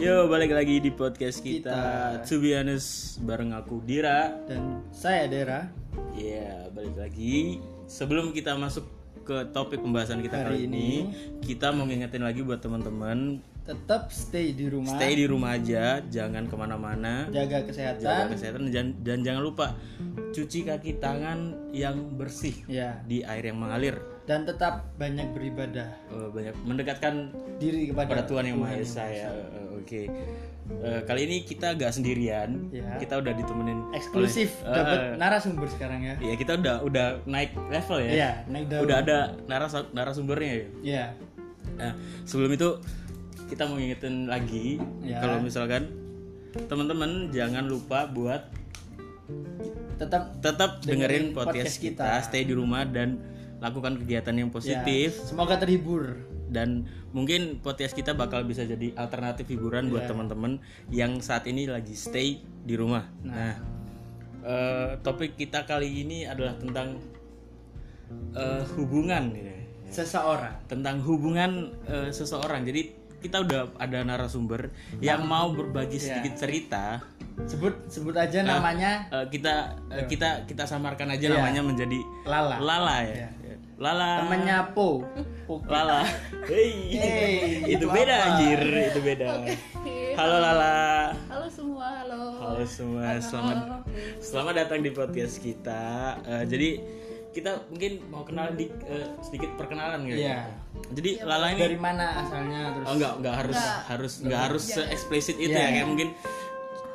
Yo, balik lagi di podcast kita, Kita. To be honest, bareng aku Dira dan saya Dera Ya, balik lagi Sebelum kita masuk ke topik pembahasan kita kali Hari ini, Kita mau ngingetin lagi buat teman-teman tetap stay di rumah Stay di rumah aja, jangan kemana-mana jaga Jaga kesehatan kesehatan dan, dan jangan lupa Cuci kaki tangan yang bersih ya Di air yang mengalir dan tetap banyak beribadah Eh, banyak mendekatkan diri kepada kepada Tuhan yang Maha Esa ya. Eh, Oke. Eh, kali ini kita gak sendirian. Ya. Kita udah ditemenin eksklusif oleh- dapat Eh, eh, narasumber sekarang ya Iya, kita udah udah naik level ya. Iya, naik daun. Udah ada naras narasumbernya ya. ya Nah, sebelum itu kita mau ngingetin lagi Ya. kalau misalkan teman-teman jangan lupa buat tetap tetap dengerin, Dengerin podcast, podcast kita. kita. stay di rumah dan lakukan kegiatan yang ya, positif semoga terhibur dan mungkin podcast kita bakal bisa jadi alternatif hiburan Iya. buat teman-teman yang saat ini lagi stay di rumah. Nah, eh, topik kita kali ini adalah tentang eh, hubungan, gitu. seseorang tentang hubungan eh, seseorang. Jadi kita udah ada narasumber yang Nah. mau berbagi sedikit Iya. cerita. sebut sebut aja namanya Eh, kita eh, kita kita samarkan aja namanya menjadi Iya. Lala Iya. Lala ya. Lala. temennya Po Po. Lala. Hey. Hey, itu beda anjir, itu beda. Halo Lala. Halo semua, halo. Halo semua, selamat selamat datang di podcast kita. Eh, jadi kita mungkin mau kenal di- eh, sedikit perkenalan gitu. Iya. Jadi Lala ini dari mana asalnya terus oh, enggak enggak harus harus enggak harus se-eksplisit itu ya kayak mungkin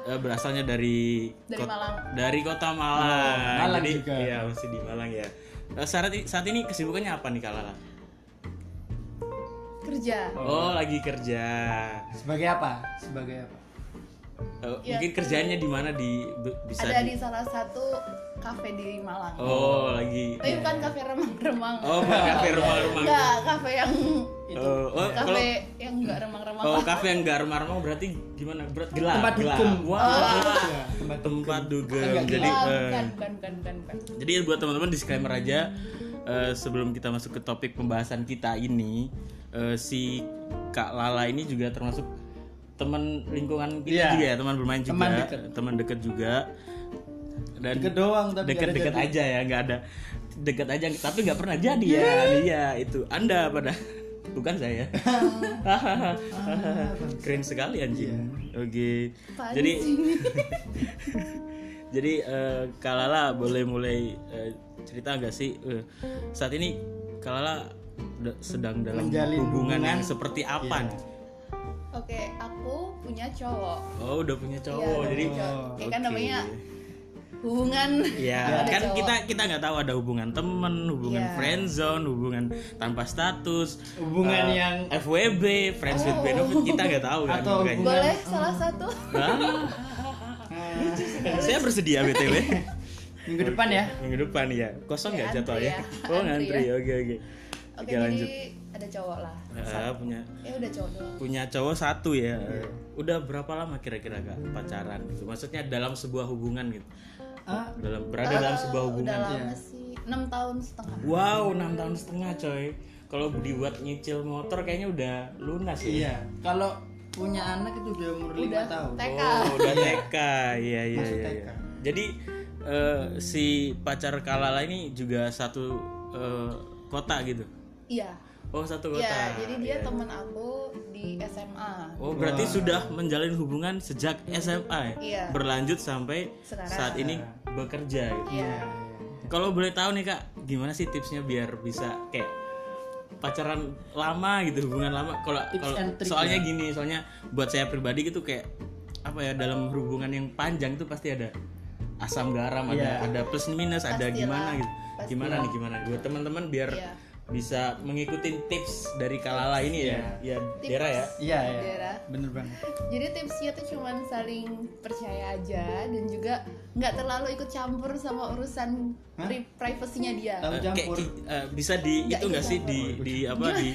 eh, berasalnya dari Dari Malang. dari kota Malang. Malang Jadi, juga. Iya, masih di Malang ya. Eh, saat, i- saat ini kesibukannya apa nih Kak Lala? Kerja. Oh, lagi kerja. sebagai apa sebagai apa Eh, mungkin kerjanya di mana di b- bisa Ada di- di salah satu kafe di Malang. Oh, lagi Tapi bukan kafe remang-remang. Oh, bukan kafe rumah-rumah. Enggak, kafe yang Oh, oh, kafe kalau yang enggak remang-remang. oh, kafe yang enggak remang-remang berarti gimana? Berat gelap. Tempat gelap. dugem. Wah. Ya, tempat Tempat dugem. Agak Jadi Ah, eh, bukan, bukan, bukan, bukan, bukan. jadi buat teman-teman disclaimer aja eh, sebelum kita masuk ke topik pembahasan kita ini eh, si Kak Lala ini juga termasuk teman lingkungan kita Iya. juga ya, teman bermain juga, Teman deket. teman dekat juga. Dan deket doang tapi nggak ada deket-deket jadi. aja ya nggak ada deket aja tapi nggak pernah jadi ya iya itu anda pada bukan saya keren sekali anjing Iya. oke Apaan jadi sih ini? jadi eh, Kalala boleh mulai eh, cerita nggak sih eh, saat ini Kalala da- sedang dalam Menjalin hubungan hubungan. yang seperti apa Iya. nih? Oke, aku punya cowok. oh udah punya Iya, cowok ada jadi cowok. Ya kan oke. namanya hubungan. Ya, Ada kan cowok. kita kita nggak tahu ada hubungan temen, hubungan Iya. friendzone, hubungan tanpa status, Hubungan eh, yang- FWB, friends with Oh. benefit kita nggak tahu kan. Atau makanya. hubungan- Boleh salah satu? Ah, Ah, saya bersedia btw. minggu depan ya Minggu depan ya, kosong nggak Ya, antri jadwalnya? ya. Oh Antri ngantri, ya. oke oke. Oke, Oke jadi lanjut. ada cowok lah. Ah, punya Ya udah cowok doang. punya cowok satu ya. Iya. Udah berapa lama kira-kira kak pacaran gitu? Maksudnya dalam sebuah hubungan gitu, Ah, dalam berada dalam sebuah hubungan. Eh, Udah lama sih, 6 tahun setengah. Wow, 6 tahun setengah coy. Kalau dibuat nyicil motor kayaknya udah lunas ya. Iya, kalau punya anak itu udah umur lima tahun. TK. Oh, udah TK. Iya, iya, iya. TK. iya. Jadi eh, si pacar Kalala ini juga satu eh, kota gitu. Iya. Oh, satu kota. Iya, jadi dia teman aku di SMA. Oh, berarti sudah menjalin hubungan sejak SMA ya? Iya. Berlanjut sampai Sekarang. saat ini bekerja gitu. Iya. Kalau boleh tahu nih kak, gimana sih tipsnya biar bisa kayak pacaran lama gitu, hubungan lama? Kalau Tips kalau- and trick soalnya gini, soalnya buat saya pribadi gitu kayak apa ya dalam hubungan yang panjang itu pasti ada asam garam, ada ada plus minus, ada gimana gitu. Gimana nih gimana? Buat teman-teman biar Iya. bisa mengikuti tips dari Kalala ini ya, ya Dera ya. Iya, iya. Daerah. Eh, Bener banget. Jadi tipsnya tuh cuman saling percaya aja dan juga nggak terlalu ikut campur sama urusan pri- privasinya dia. Tahu Eh, kayak campur. ki- eh, bisa di itu nggak sih di di apa di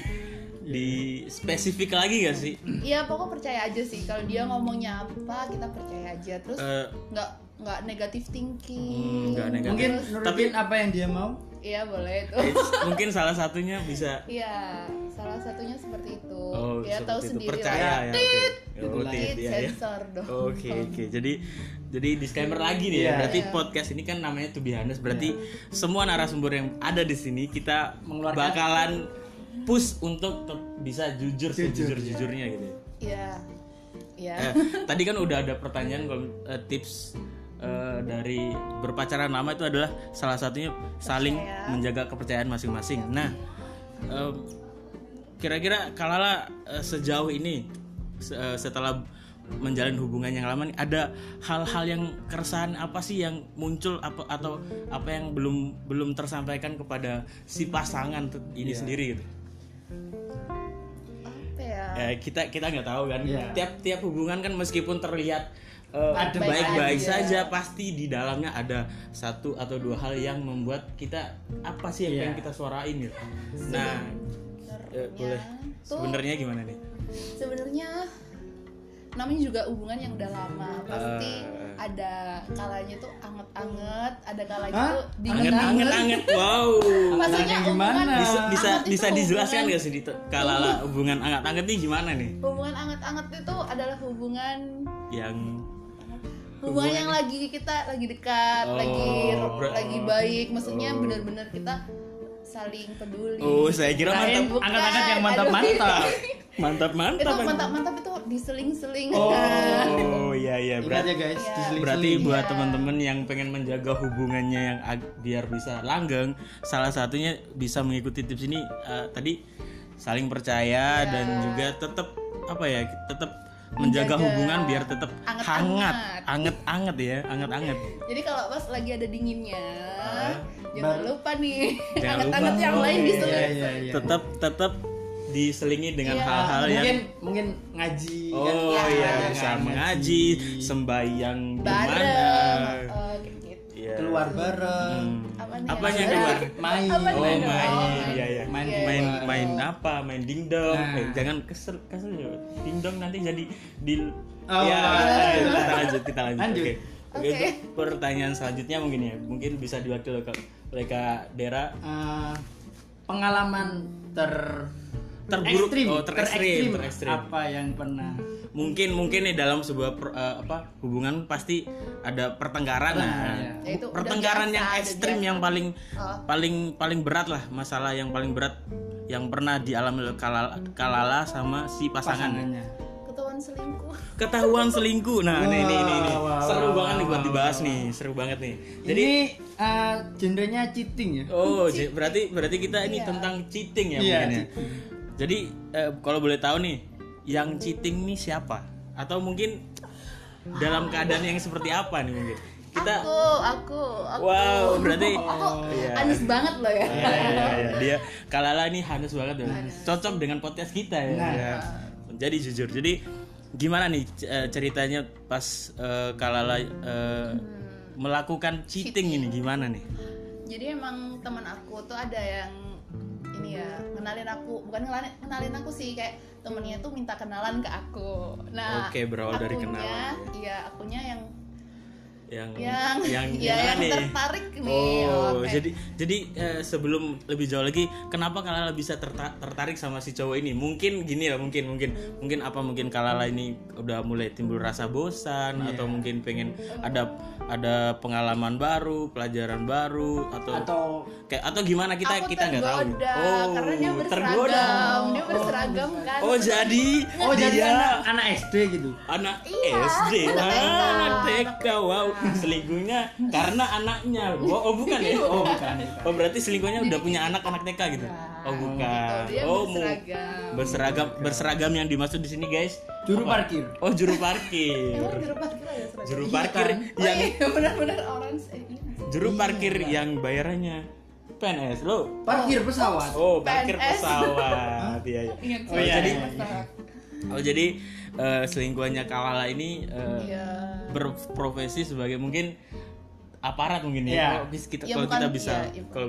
di spesifik lagi gak sih? Iya pokoknya percaya aja sih kalau dia ngomongnya apa kita percaya aja terus Eh, nggak nggak negatif hmm, thinking. nggak negatif. Mungkin Tapi nurutin apa yang dia mau. Iya boleh itu. it's- mungkin salah satunya bisa Iya salah satunya seperti itu. oh ya seperti tahu itu. sendiri percaya lah. ya. Tit, Oke. Oh, tit, tit, Tit, ya, ya. sensor dong. Oke oke jadi jadi disclaimer lagi nih ya Iya. berarti Iya. podcast ini kan namanya tuh Bihanes berarti semua narasumber yang ada di sini kita Mengeluarkan- bakalan push untuk te- bisa jujur Jujur, sejujur jujurnya gitu. ya. Iya. Iya. Eh, tadi kan udah ada pertanyaan kalau, eh, tips eh, dari berpacaran lama itu adalah salah satunya saling Percaya. menjaga kepercayaan masing-masing. Nah, eh, kira-kira kalala eh, sejauh ini se- eh, setelah menjalin hubungan yang lama nih ada hal-hal yang keresahan apa sih yang muncul apa atau apa yang belum belum tersampaikan kepada Hmm. si pasangan tuh ini sendiri gitu. Apa ya? Ya, kita kita nggak tahu kan. Iya. Tiap-tiap hubungan kan meskipun terlihat eh, Ada baik-baik baik saja, pasti di dalamnya ada satu atau dua hal yang membuat kita apa sih yang Iya. pengen kita suarain gitu. Nah, eh, boleh. Ya, Tuh Sebenarnya gimana nih? sebenarnya namanya juga hubungan yang udah lama pasti Eh. ada kalanya tuh anget-anget ada kalanya Hah? tuh Anget, anget, anget. Wow. maksudnya Anget-anget hubungan gimana? Bisa bisa, anget itu bisa dijelaskan hubungan- nggak sih Dito? Kalala hubungan anget-anget nih gimana nih? hubungan anget-anget itu adalah hubungan Yang hubungan yang lagi kita lagi dekat Oh, lagi ber- lagi baik maksudnya Oh. benar-benar kita saling peduli Oh, saya kira Kirain mantap. bukan. Angkat-angkat yang Aduh, mantap-mantap. Mantap-mantap. itu anjing. mantap-mantap itu diseling-seling kan? Oh, iya iya. Ingat Berarti ya guys, Iya. diseling-seling. Berarti buat teman-teman yang pengen menjaga hubungannya yang ag- biar bisa langgeng, salah satunya bisa mengikuti tips ini eh, tadi saling percaya Iya. dan juga tetap apa ya, tetap menjaga, Menjaga hubungan biar tetap anget-anget. hangat, anget-anget ya, anget-anget. Jadi kalau pas lagi ada dinginnya, jangan Baru- lupa nih Ah, Jangan anget-anget lupa. yang lain Oke, diseling. Iya, iya, iya. Ah, Tetap tetap diselingi dengan Iya. hal-hal yang Mungkin mungkin ngaji kan? Oh Iya, iya, Ngaji. bisa mengaji, sembahyang di bareng mana. eh, kayak gitu. Iya. keluar bareng. Hmm. Apa nih Apa ya? yang keluar? Main. Apa nih? Oh Main. main, Oh, iya iya. main. Main Iya, main, iya. main apa? Main dingdong. Nah. Eh, jangan kesel kesel ya. Dingdong nanti jadi di Oh, ya, iya. ayo, kita lanjut, kita lanjut. Lanjut. Oke. Oke, Oke. untuk pertanyaan selanjutnya mungkin ya. Mungkin bisa diwakili oleh Kak- oleh Kak Dera Eh, pengalaman ter Terburuk. ekstrim, Oh, terekstrim, terekstrim. terekstrim. apa yang pernah mungkin mungkin nih dalam sebuah per- eh, apa hubungan pasti ada pertengkaran nah, iya. Bu- Ya, itu udah pertengkaran biasa, yang udah ekstrim biasa. yang paling Oh. paling paling berat lah masalah yang paling berat yang pernah dialami oleh kalala, kalala sama si pasangan pasangannya Ketahuan selingkuh. ketahuan selingkuh nah ini ini ini, ini. Wah, wah, seru wah, banget nih buat wah, dibahas nih seru banget nih jadi ini eh, genrenya cheating ya oh j- berarti berarti kita ini tentang cheating ya Iya, mungkin ya jadi eh, kalau boleh tahu nih yang cheating nih siapa atau mungkin dalam keadaan yang seperti apa nih mungkin kita Aku, aku, aku. wow berarti Aku Iya. anis banget loh ya. Iya, iya, iya. dia Kalala ini halus banget ya. cocok dengan podcast kita ya. Nah. Ya. Jadi jujur, jadi gimana nih c- eh, ceritanya pas eh, Kalala eh, melakukan cheating ini gimana nih? Jadi emang teman aku tuh ada yang ini ya kenalin aku bukan kenalin, kenalin aku sih kayak temennya tuh minta kenalan ke aku. Nah, Oke, berawal dari akunya- kenalan, Iya, akunya yang Yang yang yang ya, gimana yang nih? tertarik nih. Oh, Oke. jadi jadi eh, sebelum lebih jauh lagi, kenapa Kalala bisa terta- tertarik sama si cowok ini? Mungkin gini lah, mungkin mungkin mungkin apa mungkin Kalala ini udah mulai timbul rasa bosan atau mungkin pengen ada ada pengalaman baru, pelajaran baru atau, atau kayak atau gimana kita aku kita nggak tahu. Oh, tergoda, karena dia tergoda. berseragam dia berseragam kan Oh, jadi oh jadi dia anak, anak SD gitu anak Iya, SD anak TK wow selingkuhnya karena anaknya oh, oh bukan ya oh bukan Oh berarti selingkuhnya udah punya anak anak TK gitu? Oh bukan. Gitu, Iya. dia oh mu- berseragam. berseragam berseragam yang dimaksud di sini guys. juru parkir Oh juru parkir. Emang juru parkir ada seragam? Juru parkir Oh, yang iya, benar-benar orange eh, iya. juru parkir iya. yang bayarannya PNS lo. parkir pesawat Oh parkir PNS. pesawat. Iya iya. Ingat Oh, saya. jadi oh jadi eh, selingkuhannya Kalala ini eh, Iya. berprofesi sebagai mungkin aparat mungkin Iya. ya. Kalau bis- kita Ya, kalau bukan- kita bisa iya, iya. kalau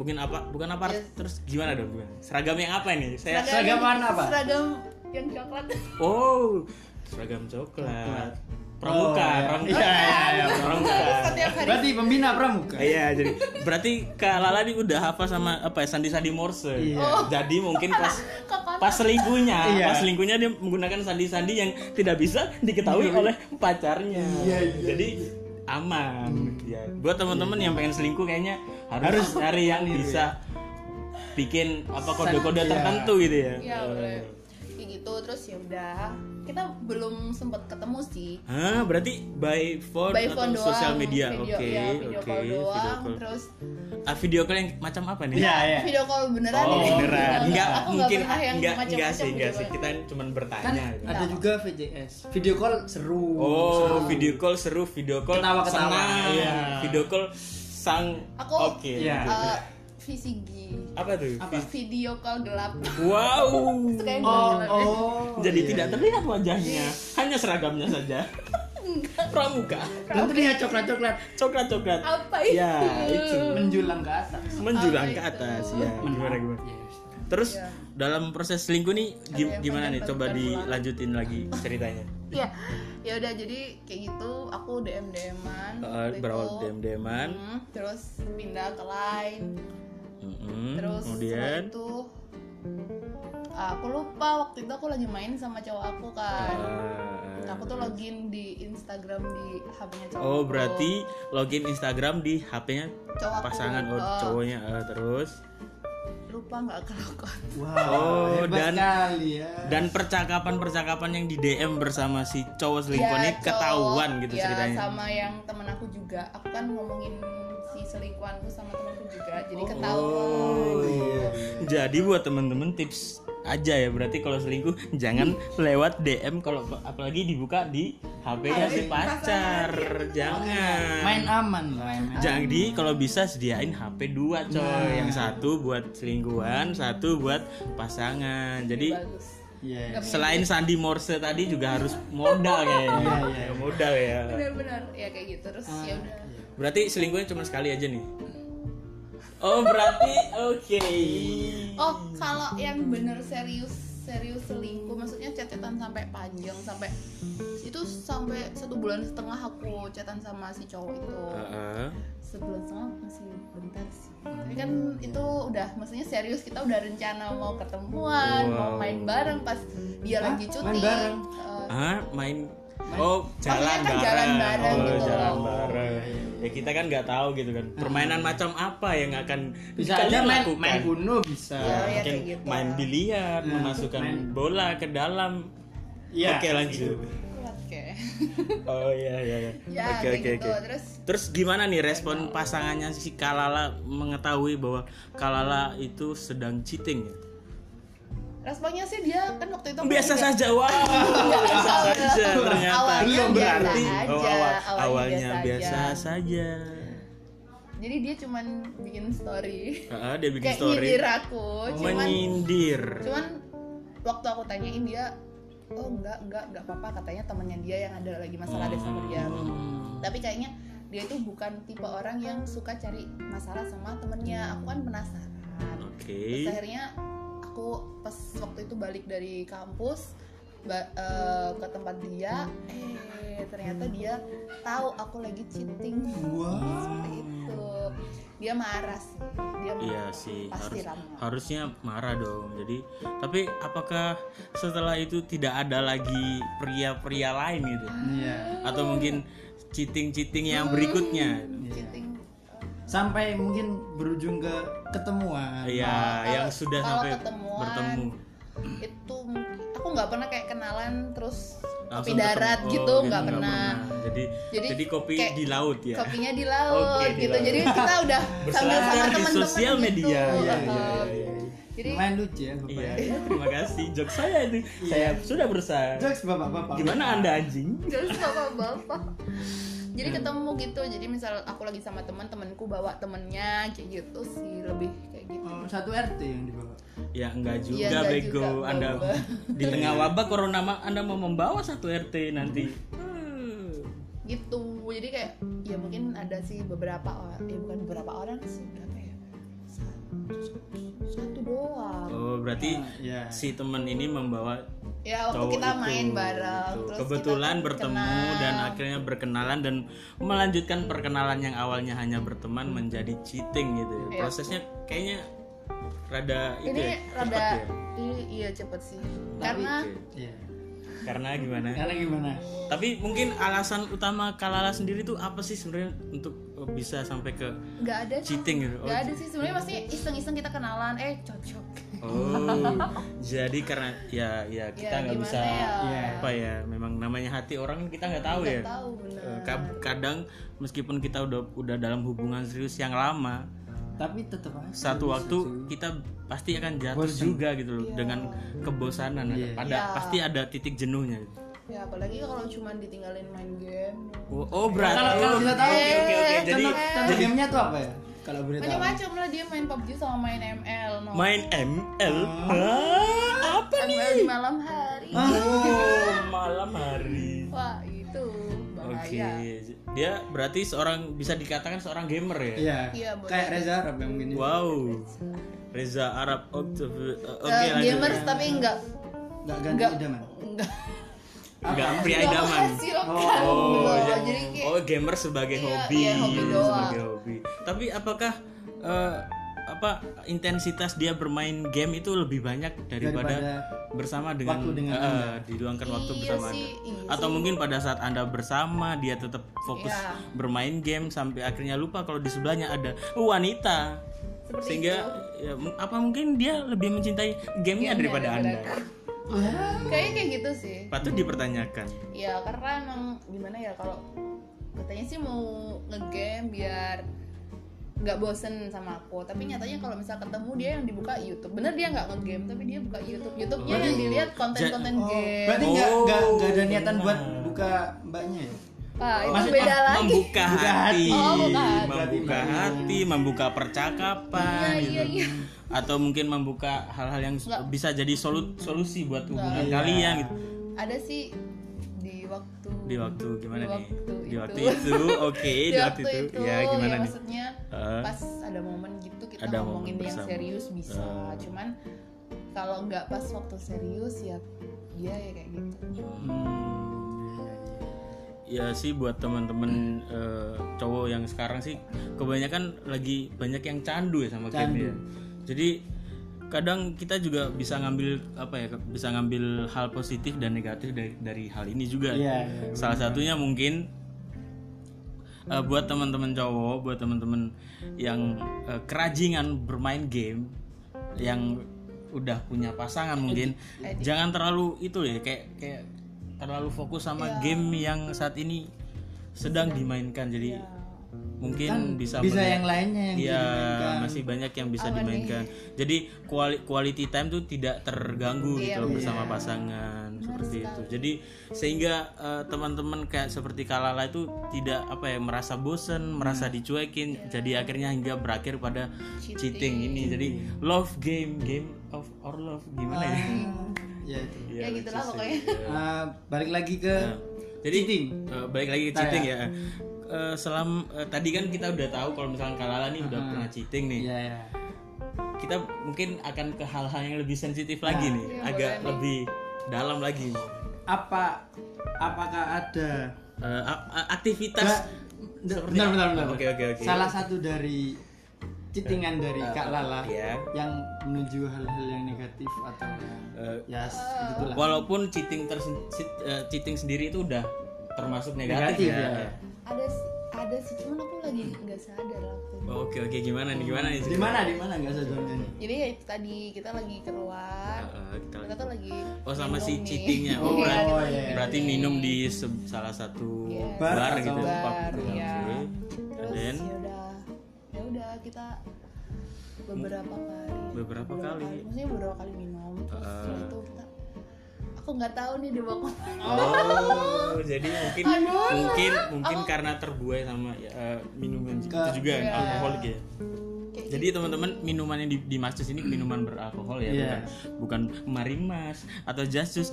mungkin apa bukan aparat Yes. terus gimana dong gimana? Seragam yang apa ini? Saya Seragam warna apa? Seragam yang coklat. oh seragam coklat. Pramuka, Oh, iya. pramuka. Iya, iya, iya, pramuka. Setiap hari. Berarti pembina pramuka. Iya, jadi berarti Kak Lala ini udah hafal sama apa ya sandi-sandi Morse. Iya. Oh. Jadi mungkin pas Kepala. pas selingkuhnya, Iya. pas selingkuhnya dia menggunakan sandi-sandi yang tidak bisa diketahui oleh pacarnya. Iya, iya, Hmm. Jadi aman. Ya. Buat teman-teman yang pengen selingkuh kayaknya Harus harus cari yang ini dulu bisa bikin apa kode-kode Iya. tertentu gitu ya. Iya, boleh. Kayak gitu terus ya udah. Kita belum sempet ketemu sih. Hah, berarti by phone By atau phone doang. Oh, sosial media. Oke, video, oke. ya, video call doang. call. Terus Ah, video call yang macam apa nih? Iya, iya. video call beneran Oh, ya? beneran. Enggak, aku nggak mungkin pernah yang enggak enggak macam-macam gitu ya. sih, enggak video sih. call. Kita cuma Kan bertanya. gitu. ada juga VJS. Video call seru. Oh, seru. video call seru, video call Ketawa-ketawa, senang. iya. Video call sang Aku- oke. Iya. video call. Eh, VCG. Apa tuh? Apa? Video call gelap. Wow. Itu kayak Oh, gelap. oh. Jadi iya, tidak iya. terlihat wajahnya, hanya seragamnya saja. Pramuka, Dan terlihat Kan ya coklat-coklat coklat-coklat. Apa Ya, itu? itu. menjulang ke atas. Menjulang Apa ke itu? atas ya. Gimana gimana? Yes. Terus Iya. dalam proses selingkuh nih gim- Ada yang gimana nih? panjang Coba tadi kan pulang. dilanjutin lagi ceritanya. Iya. Ya udah jadi kayak gitu aku DM DM-an. Eh, berawal DM-DM-an. Hmm, terus pindah ke lain Mm-mm. terus setelah kemudian itu eh, aku lupa waktu itu aku lagi main sama cowok aku kan Ah. aku tuh login di Instagram di HP-nya cowok Oh aku. berarti login Instagram di HP-nya Cowok aku. pasangan oh, Oh. cowoknya eh, terus lupa nggak kalau kau- Wow, Oh, hebat dan- sekali ya. dan percakapan-percakapan yang di DM bersama si cowok selingkuh Ya, ini cowok, ketahuan gitu ya, ceritanya. sama yang temen aku juga aku kan ngomongin si selingkuhanku sama temenku juga jadi Oh, ketahuan iya. Jadi buat temen-temen tips aja ya berarti kalau selingkuh jangan lewat DM kalau apalagi dibuka di HP-nya si pacar. Jangan. Main aman lah. main- Jadi kalau bisa sediain HP dua coy, Nah. yang satu buat selingkuhan, satu buat pasangan. Jadi bagus Iya. iya. selain sandi Morse tadi juga harus modal kayaknya. Iya, iya. modal ya. benar-benar ya kayak gitu terus ya Ah. udah Berarti selingkuhnya cuma sekali aja nih. Oh berarti oke. Oh, kalau yang bener serius serius selingkuh, maksudnya cetetan sampai panjang sampai itu sampai satu bulan setengah aku cetan sama si cowok itu. Heeh. Sebulan setengah masih bentar sih. Tapi kan Iya, itu udah, maksudnya serius kita udah rencana mau ketemuan, mau Wow. main bareng pas dia Hah? lagi cuti. Main bareng? Eh, Ah, main Oh, jalan bareng. kan jalan bareng oh, gitu jalan loh. bareng. Ya kita kan nggak tahu gitu kan. Permainan macam apa yang akan Bisa aja kalian main lakukan? main bunuh bisa. Iya, iya. Mungkin kayak gitu. main biliar, Nah, memasukkan main- bola ke dalam. Iya. Oke, lanjut. kuat kayak. Oh iya iya. iya. Ya, Oke kayak oke gitu. oke. Terus Terus gimana nih respon pasangannya si Kalala mengetahui bahwa Kalala itu sedang cheating ya? responnya sih dia kan waktu itu Biasa juga- saja, wow. Biasa saja ternyata. Awalnya Belum biasa berarti. aja, Oh, awal, awalnya awalnya biasa aja. saja. Jadi dia cuman bikin story. Heeh, dia bikin Kayak story nyindir aku, cuman menyindir. cuman waktu aku tanyain dia oh enggak enggak enggak apa-apa katanya temannya dia yang ada lagi masalah deh sama dia. Hmm, Tapi kayaknya dia itu bukan tipe orang yang suka cari masalah sama temennya. Aku kan penasaran. Terus Hmm. Oke. akhirnya aku pas waktu itu balik dari kampus ba- eh, ke tempat dia, eh ternyata dia tahu aku lagi cheating. Wah. Seperti itu. Dia marah sih. Dia marah. Iya sih, harus- Pasti lama. harusnya marah dong. Jadi, tapi apakah setelah itu tidak ada lagi pria-pria lain gitu? Iya. Atau Hmm. mungkin cheating-cheating yang berikutnya? iya. Cheating. Sampai mungkin berujung ke ketemuan. Iya, Nah, Kalau- yang sudah kalau sampai ketemuan, bertemu. Itu mungkin- aku nggak pernah kayak kenalan terus kopi Langsung ketemu. darat Oh, gitu nggak pernah. Jadi, jadi, Jadi kopi kayak di laut ya. Kopinya di laut Oke, di gitu. laut. Jadi kita udah sambil sama Berselancar di teman-teman sosial gitu. media. Iya, Heeh. iya, iya, iya. Jadi Main lucu ya, Bapak. Iya, terima kasih. Jok saya itu. Saya sudah berusaha. Jokes Bapak-bapak. Gimana Anda anjing? Terus sama bapak Hmm. jadi ketemu gitu jadi misal aku lagi sama teman temanku bawa temennya kayak gitu sih lebih kayak gitu Oh, satu RT yang dibawa. Ya enggak juga Iya, enggak bego juga, Anda Bapak. di tengah wabah corona ma- Anda mau membawa satu RT nanti. Hmm. gitu jadi kayak ya mungkin ada sih beberapa orang ya bukan beberapa orang sih berapa ya satu, satu doang Oh, berarti Iya. ya si teman ini membawa ya waktu cowok kita itu, main bareng gitu. terus kebetulan kita bertemu kenal. dan akhirnya berkenalan dan melanjutkan perkenalan yang awalnya hanya berteman menjadi cheating gitu. ya. Iya. Prosesnya kayaknya rada itu ini ya, rada cepat ya. ini iya cepet sih karena Oke. Iya. Karena gimana? Karena gimana? Tapi mungkin alasan utama Kalala sendiri tuh apa sih sebenarnya untuk eh, bisa sampai ke nggak ada cheating gitu? nggak ada sih sebenarnya pasti iseng-iseng kita kenalan eh cocok Oh, jadi karena ya ya ya kita nggak gimana bisa ya Iya. apa ya memang namanya hati orang kita nggak tahu ya nggak tahu benar Eh, kad- kadang meskipun kita udah udah dalam hubungan serius yang lama Tapi tetap aja. satu bisa waktu sih. kita pasti akan jatuh Bosen. juga gitu loh Iya. dengan kebosanan Iya. ada Iya. pasti ada titik jenuhnya gitu. ya apalagi kalau cuma ditinggalin main game oh, oh, berarti Kalau kalau nggak tahu, oke oke oke jadi contoh, contoh gamenya tuh apa ya? Kalau boleh tahu. macam-macam lah dia main PUBG sama main ML no. Iya. main ML Hah, apa ML di malam hari oh malam hari wah itu oke bahaya dia berarti seorang bisa dikatakan seorang gamer ya Iya. Iya, boleh. Kayak Reza Arab yang mungkin. wow Reza Arab Oct- eh, oke Eh, lanjut. gamers tapi enggak Nggak ganti Nggak. idaman. enggak Enggak, pria enggak Ya, idaman. menghasilkan Oh, Enggak, ya. jadi kayak oh gamer sebagai Iya, hobi, iya, hobi doang. sebagai hobi. Tapi apakah eh, apa intensitas dia bermain game itu lebih banyak daripada, Daripada bersama dengan, waktu dengan eh, Anda. diluangkan waktu Iya bersama sih, Anda? iya Atau mungkin pada saat Anda bersama dia tetap fokus Iya. bermain game sampai akhirnya lupa kalau di sebelahnya ada wanita. Seperti Sehingga ya, m- apa mungkin dia lebih mencintai gamenya daripada Anda? kayaknya kayak gitu sih Patut dipertanyakan. ya karena emang gimana ya kalau katanya sih mau ngegame biar nggak bosen sama aku tapi nyatanya kalau misal ketemu dia yang dibuka YouTube bener dia nggak ngegame tapi dia buka YouTube YouTube-nya yang dilihat konten-konten Oh, game berarti nggak Oh, Iya. nggak nggak ada niatan benar. buat buka mbaknya ya? Wah, itu Maksud- beda mem- lagi membuka Buka hati, hati. Oh, buka hati. membuka Berarti hati, membuka percakapan, Iya, iya, gitu. iya. atau mungkin membuka hal-hal yang s- Nggak. bisa jadi solu- solusi buat hubungan Iya. kalian gitu. ada sih di waktu Di waktu gimana Di nih? waktu Di itu. waktu itu, oke, di di waktu itu, ya gimana nih? Iya, maksudnya Eh, pas ada momen gitu kita Ada ngomongin momen yang bersama. serius bisa Eh. cuman kalau nggak pas waktu serius ya dia ya kayak gitu Ya sih buat teman-teman eh, cowok yang sekarang sih kebanyakan lagi banyak yang candu ya sama Candu. game ya. Jadi kadang kita juga bisa ngambil apa ya bisa ngambil hal positif dan negatif dari, dari hal ini juga. Iya, iya, Salah satunya mungkin eh, buat teman-teman cowok, buat teman-teman yang eh, kerajingan bermain game yang udah punya pasangan mungkin jangan terlalu itu ya kayak kayak terlalu fokus sama game yang saat ini sedang dimainkan. Jadi mungkin bisa Kan bisa melihat- yang lainnya yang bisa Iya, dimainkan. masih banyak yang bisa dimainkan. Jadi quali- quality time tuh tidak Iya, terganggu gitu loh bersama pasangan seperti itu. Jadi sehingga eh, teman-teman kayak seperti Kalala itu tidak apa ya merasa bosen, Hmm. merasa dicuekin. Iya. Jadi akhirnya hingga berakhir pada cheating, ini. Jadi love game, game of or love gimana ya? Ya itu. Iya, ya gitulah lucu sih. pokoknya Ah, balik lagi ke Jadi Cheating. eh, balik lagi ke cheating ya. Eh, selam eh, tadi kan kita udah tahu kalau misalnya Kalala nih udah pernah cheating nih. ya ya. kita mungkin akan ke hal-hal yang lebih sensitif Nah, lagi nih, iya, agak lebih dalam lagi. Apa apakah ada Eh, a- a- aktivitas Nah. seperti- benar benar benar. Oke oke oke. Salah satu dari citingan dari Kak Lala Ya. yang menuju hal-hal yang negatif atau yang Eh, ya gitulah. walaupun cheating tersen- cheat- eh, cheating sendiri itu udah termasuk negatif, Negatif, ya. ya. ada sih- ada sih cuman aku lagi nggak sadar waktu itu. Oh, Oke oke gimana nih gimana nih? Di mana di mana enggak sadarnya nih? jadi ya itu tadi kita lagi keluar Eh, eh, kita kita lagi- tuh lagi Oh sama si minum nih. cheatingnya. Oh, Oh, berarti, iya. berarti minum di se- salah satu Iya. bar, Bar gitu. atau- pub Bar, gitu. iya. Oke. And then? terus ya udah ya udah kita beberapa kali Beberapa kali. maksudnya beberapa kali minum terus setelah itu kita aku nggak tahu nih dibawa kemana Oh, jadi mungkin Aduh. mungkin mungkin karena terbuai sama ya, eh, minuman itu juga Iya. alkohol gitu. ya. kayak Jadi teman-teman minuman yang di, di Mas Jus ini minuman beralkohol ya, Iya. bukan bukan marimas atau jasus.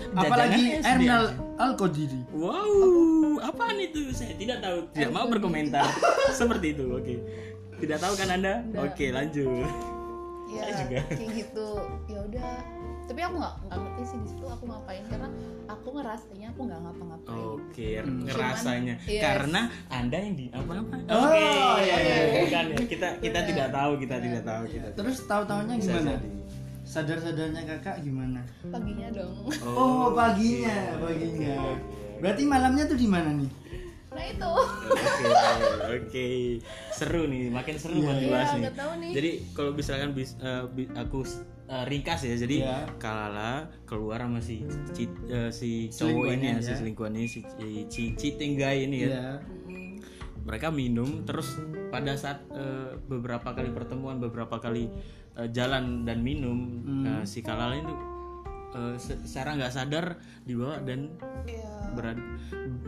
jajanan Apalagi SD. Ernal Alkodiri. Wow, apaan itu? Saya tidak tahu, tidak mau berkomentar. Seperti itu, oke. Tidak tahu kan Anda? Tidak. Oke, lanjut. ya Saya juga. kayak gitu ya udah tapi aku nggak nggak ngerti sih di situ aku ngapain karena aku ngerasanya aku nggak ngapa-ngapain Oke, Hmm. ngerasanya Cuman, yes. karena Anda yang di apa-apa. Oke, Oh, iya, iya, iya. bukan ya. Kita kita Benar. tidak tahu, kita Benar. tidak tahu, kita. tidak Terus tahu-tahunya Iya, Bisa gimana? jadi. Sadar-sadarnya kakak gimana? paginya dong Oh, iya. paginya, paginya. Berarti malamnya tuh di mana nih? nah itu Oke, oke. Seru nih, makin seru buat Iya, dibahas nih. nggak tahu nih. Jadi kalau misalkan bis- eh, bi- aku eh, ringkas ya, jadi Iya. Kalala keluar sama si ci- eh, si cowok Selingkuhannya ini ya, si ya. selingkuhan ini, si, si cheating guy ini ya. Iya. mereka minum terus pada saat eh, beberapa kali pertemuan beberapa kali eh, jalan dan minum nah, si Kalala itu eh, se- secara nggak sadar dibawa dan ya berada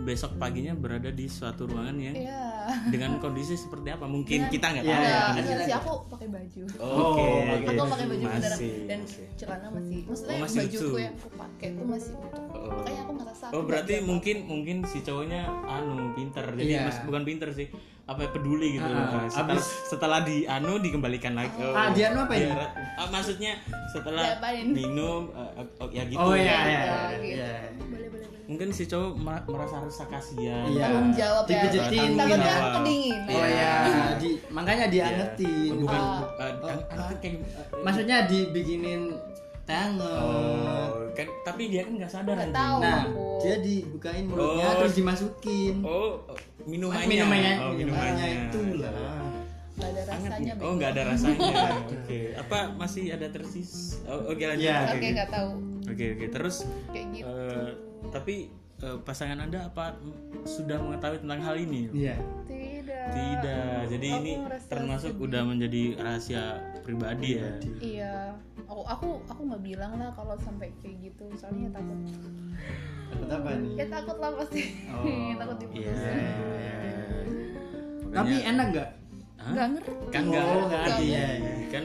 besok paginya berada di suatu ruangan yang ya dengan kondisi seperti apa mungkin kita nggak Iya, tahu Nggak, ya. iya. nggak sih aku pakai baju Oke, Oh, oke. aku pakai baju beneran Masih, dan masih. celana masih maksudnya Oh, masih bajuku utuh. yang aku pakai tuh masih utuh Oh. makanya aku ngerasa aku Oh nggak berarti diapa- mungkin mungkin si cowoknya anu pinter jadi Iya. mas- bukan pinter sih apa ya, peduli gitu Ah, Nah, setelah, abis- setelah di anu dikembalikan lagi oh. Ah, di anu apa ya? Iya, ah, maksudnya setelah Diapain? minum eh, oh, ya gitu Oh iya, iya, Gitu. iya. boleh boleh boleh mungkin si cowok mer- merasa rasa kasihan Iya. tanggung jawab ya Dipijetin takutnya mungkin. aku kedinginan Oh ya, Gitu. di, makanya diangetin. Oh, Iya. bukan Ah. eh, ang- angkat kayak Maksudnya dibikinin tangan. oh, kan tapi dia kan nggak sadar Nggak anjing. tahu. Nah, aku. dia dibukain mulutnya Oh. terus dimasukin. Kan oh eh, minumannya Minumannya, oh, minumannya itulah. nggak ada rasanya oh nggak ada rasanya oke apa masih ada tersis oh, oke lanjut Iya. oke oke oke. nggak tahu Oke oke terus kayak gitu eh, tapi eh, pasangan anda apa sudah mengetahui tentang hal ini? Iya. tidak Tidak. Jadi Aku ini ngerasa termasuk sedih. udah menjadi rahasia pribadi ya. iya aku aku aku nggak bilang lah kalau sampai kayak gitu soalnya ya takut Takut apa nih? ya takut lah pasti takut Iya. diputusin Tapi Makanya- enak nggak? Hah? nggak ngerti kan nggak Oh, nggak ngerti. ada. kan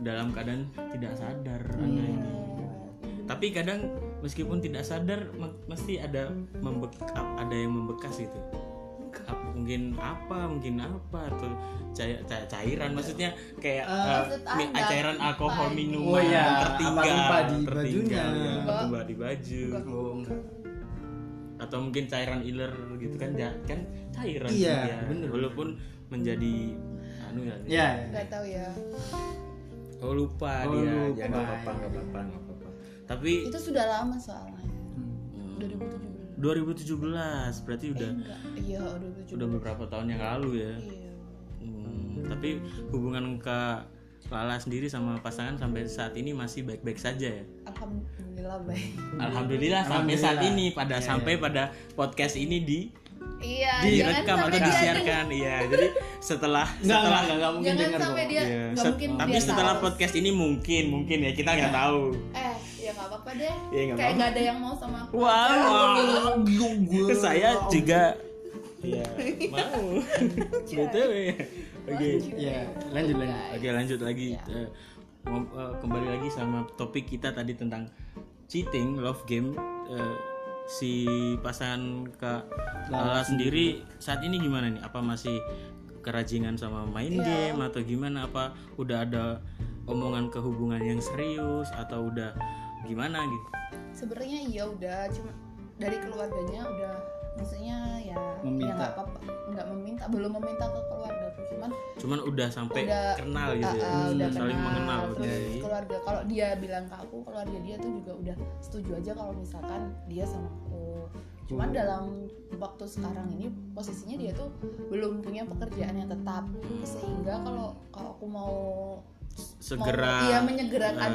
dalam keadaan tidak sadar Iya, Anda ini. Tapi kadang meskipun tidak sadar me- mesti ada membek ada yang membekas gitu. Ap- mungkin apa mungkin apa atau cai- cai- cairan maksudnya kayak Eh, eh, maksud mi- Anda, cairan alkohol apa? minuman Oh iya, tertinggal apa tumpah di tertinggal, bajunya. ya, apa Enggak. tumpah di baju Oh, enggak. atau mungkin cairan iler gitu kan ja- kan cairan Iya, juga. bener. walaupun menjadi anu ya Iya. nggak tahu ya oh lupa Oh, dia lupa. ya nggak apa-apa nggak apa-apa nggak apa-apa tapi itu sudah lama soalnya Hmm. hmm, 2017 2017 berarti eh, udah enggak iya 2017 udah beberapa tahun yang lalu ya iya Hmm, tapi hubungan Kak Lala sendiri sama pasangan sampai saat ini masih baik-baik saja ya. alhamdulillah baik Alhamdulillah, sampai saat Alhamdulillah. ini pada Iya, sampai pada podcast ini di iya jangan direkam sampai atau dia disiarkan. Iya, jadi setelah Enggak, setelah enggak, enggak, enggak mungkin jangan denger sampai kok. dia Iya, nggak set- mungkin tapi dia setelah tahu. podcast ini mungkin mungkin ya kita nggak tahu. eh ya nggak apa-apa deh Iya, nggak kayak apa-apa. nggak ada yang mau sama aku Wow. Saya juga Iya, mau. BTW. Oke. Iya, lanjut lanjut. Oke lanjut lagi Iya. Eh, ngom- eh, kembali lagi sama topik kita tadi tentang cheating love game Eh, si pasangan kak Lala sendiri saat ini gimana nih apa masih kerajingan sama main Iya. game atau gimana apa udah ada omongan kehubungan yang serius atau udah gimana gitu sebenarnya iya udah cuma dari keluarganya udah maksudnya ya Meminta. ya nggak apa-apa nggak meminta belum meminta ke keluarga tuh cuman cuman udah sampai Udah, kenal gitu ya ah, ah, udah saling kenal. mengenal oke terus keluarga kalau dia bilang ke aku keluarga dia tuh juga udah setuju aja kalau misalkan dia sama aku cuman Hmm. dalam waktu sekarang ini posisinya dia tuh belum punya pekerjaan yang tetap sehingga kalau kalau aku mau segera mau, iya, menyegerakan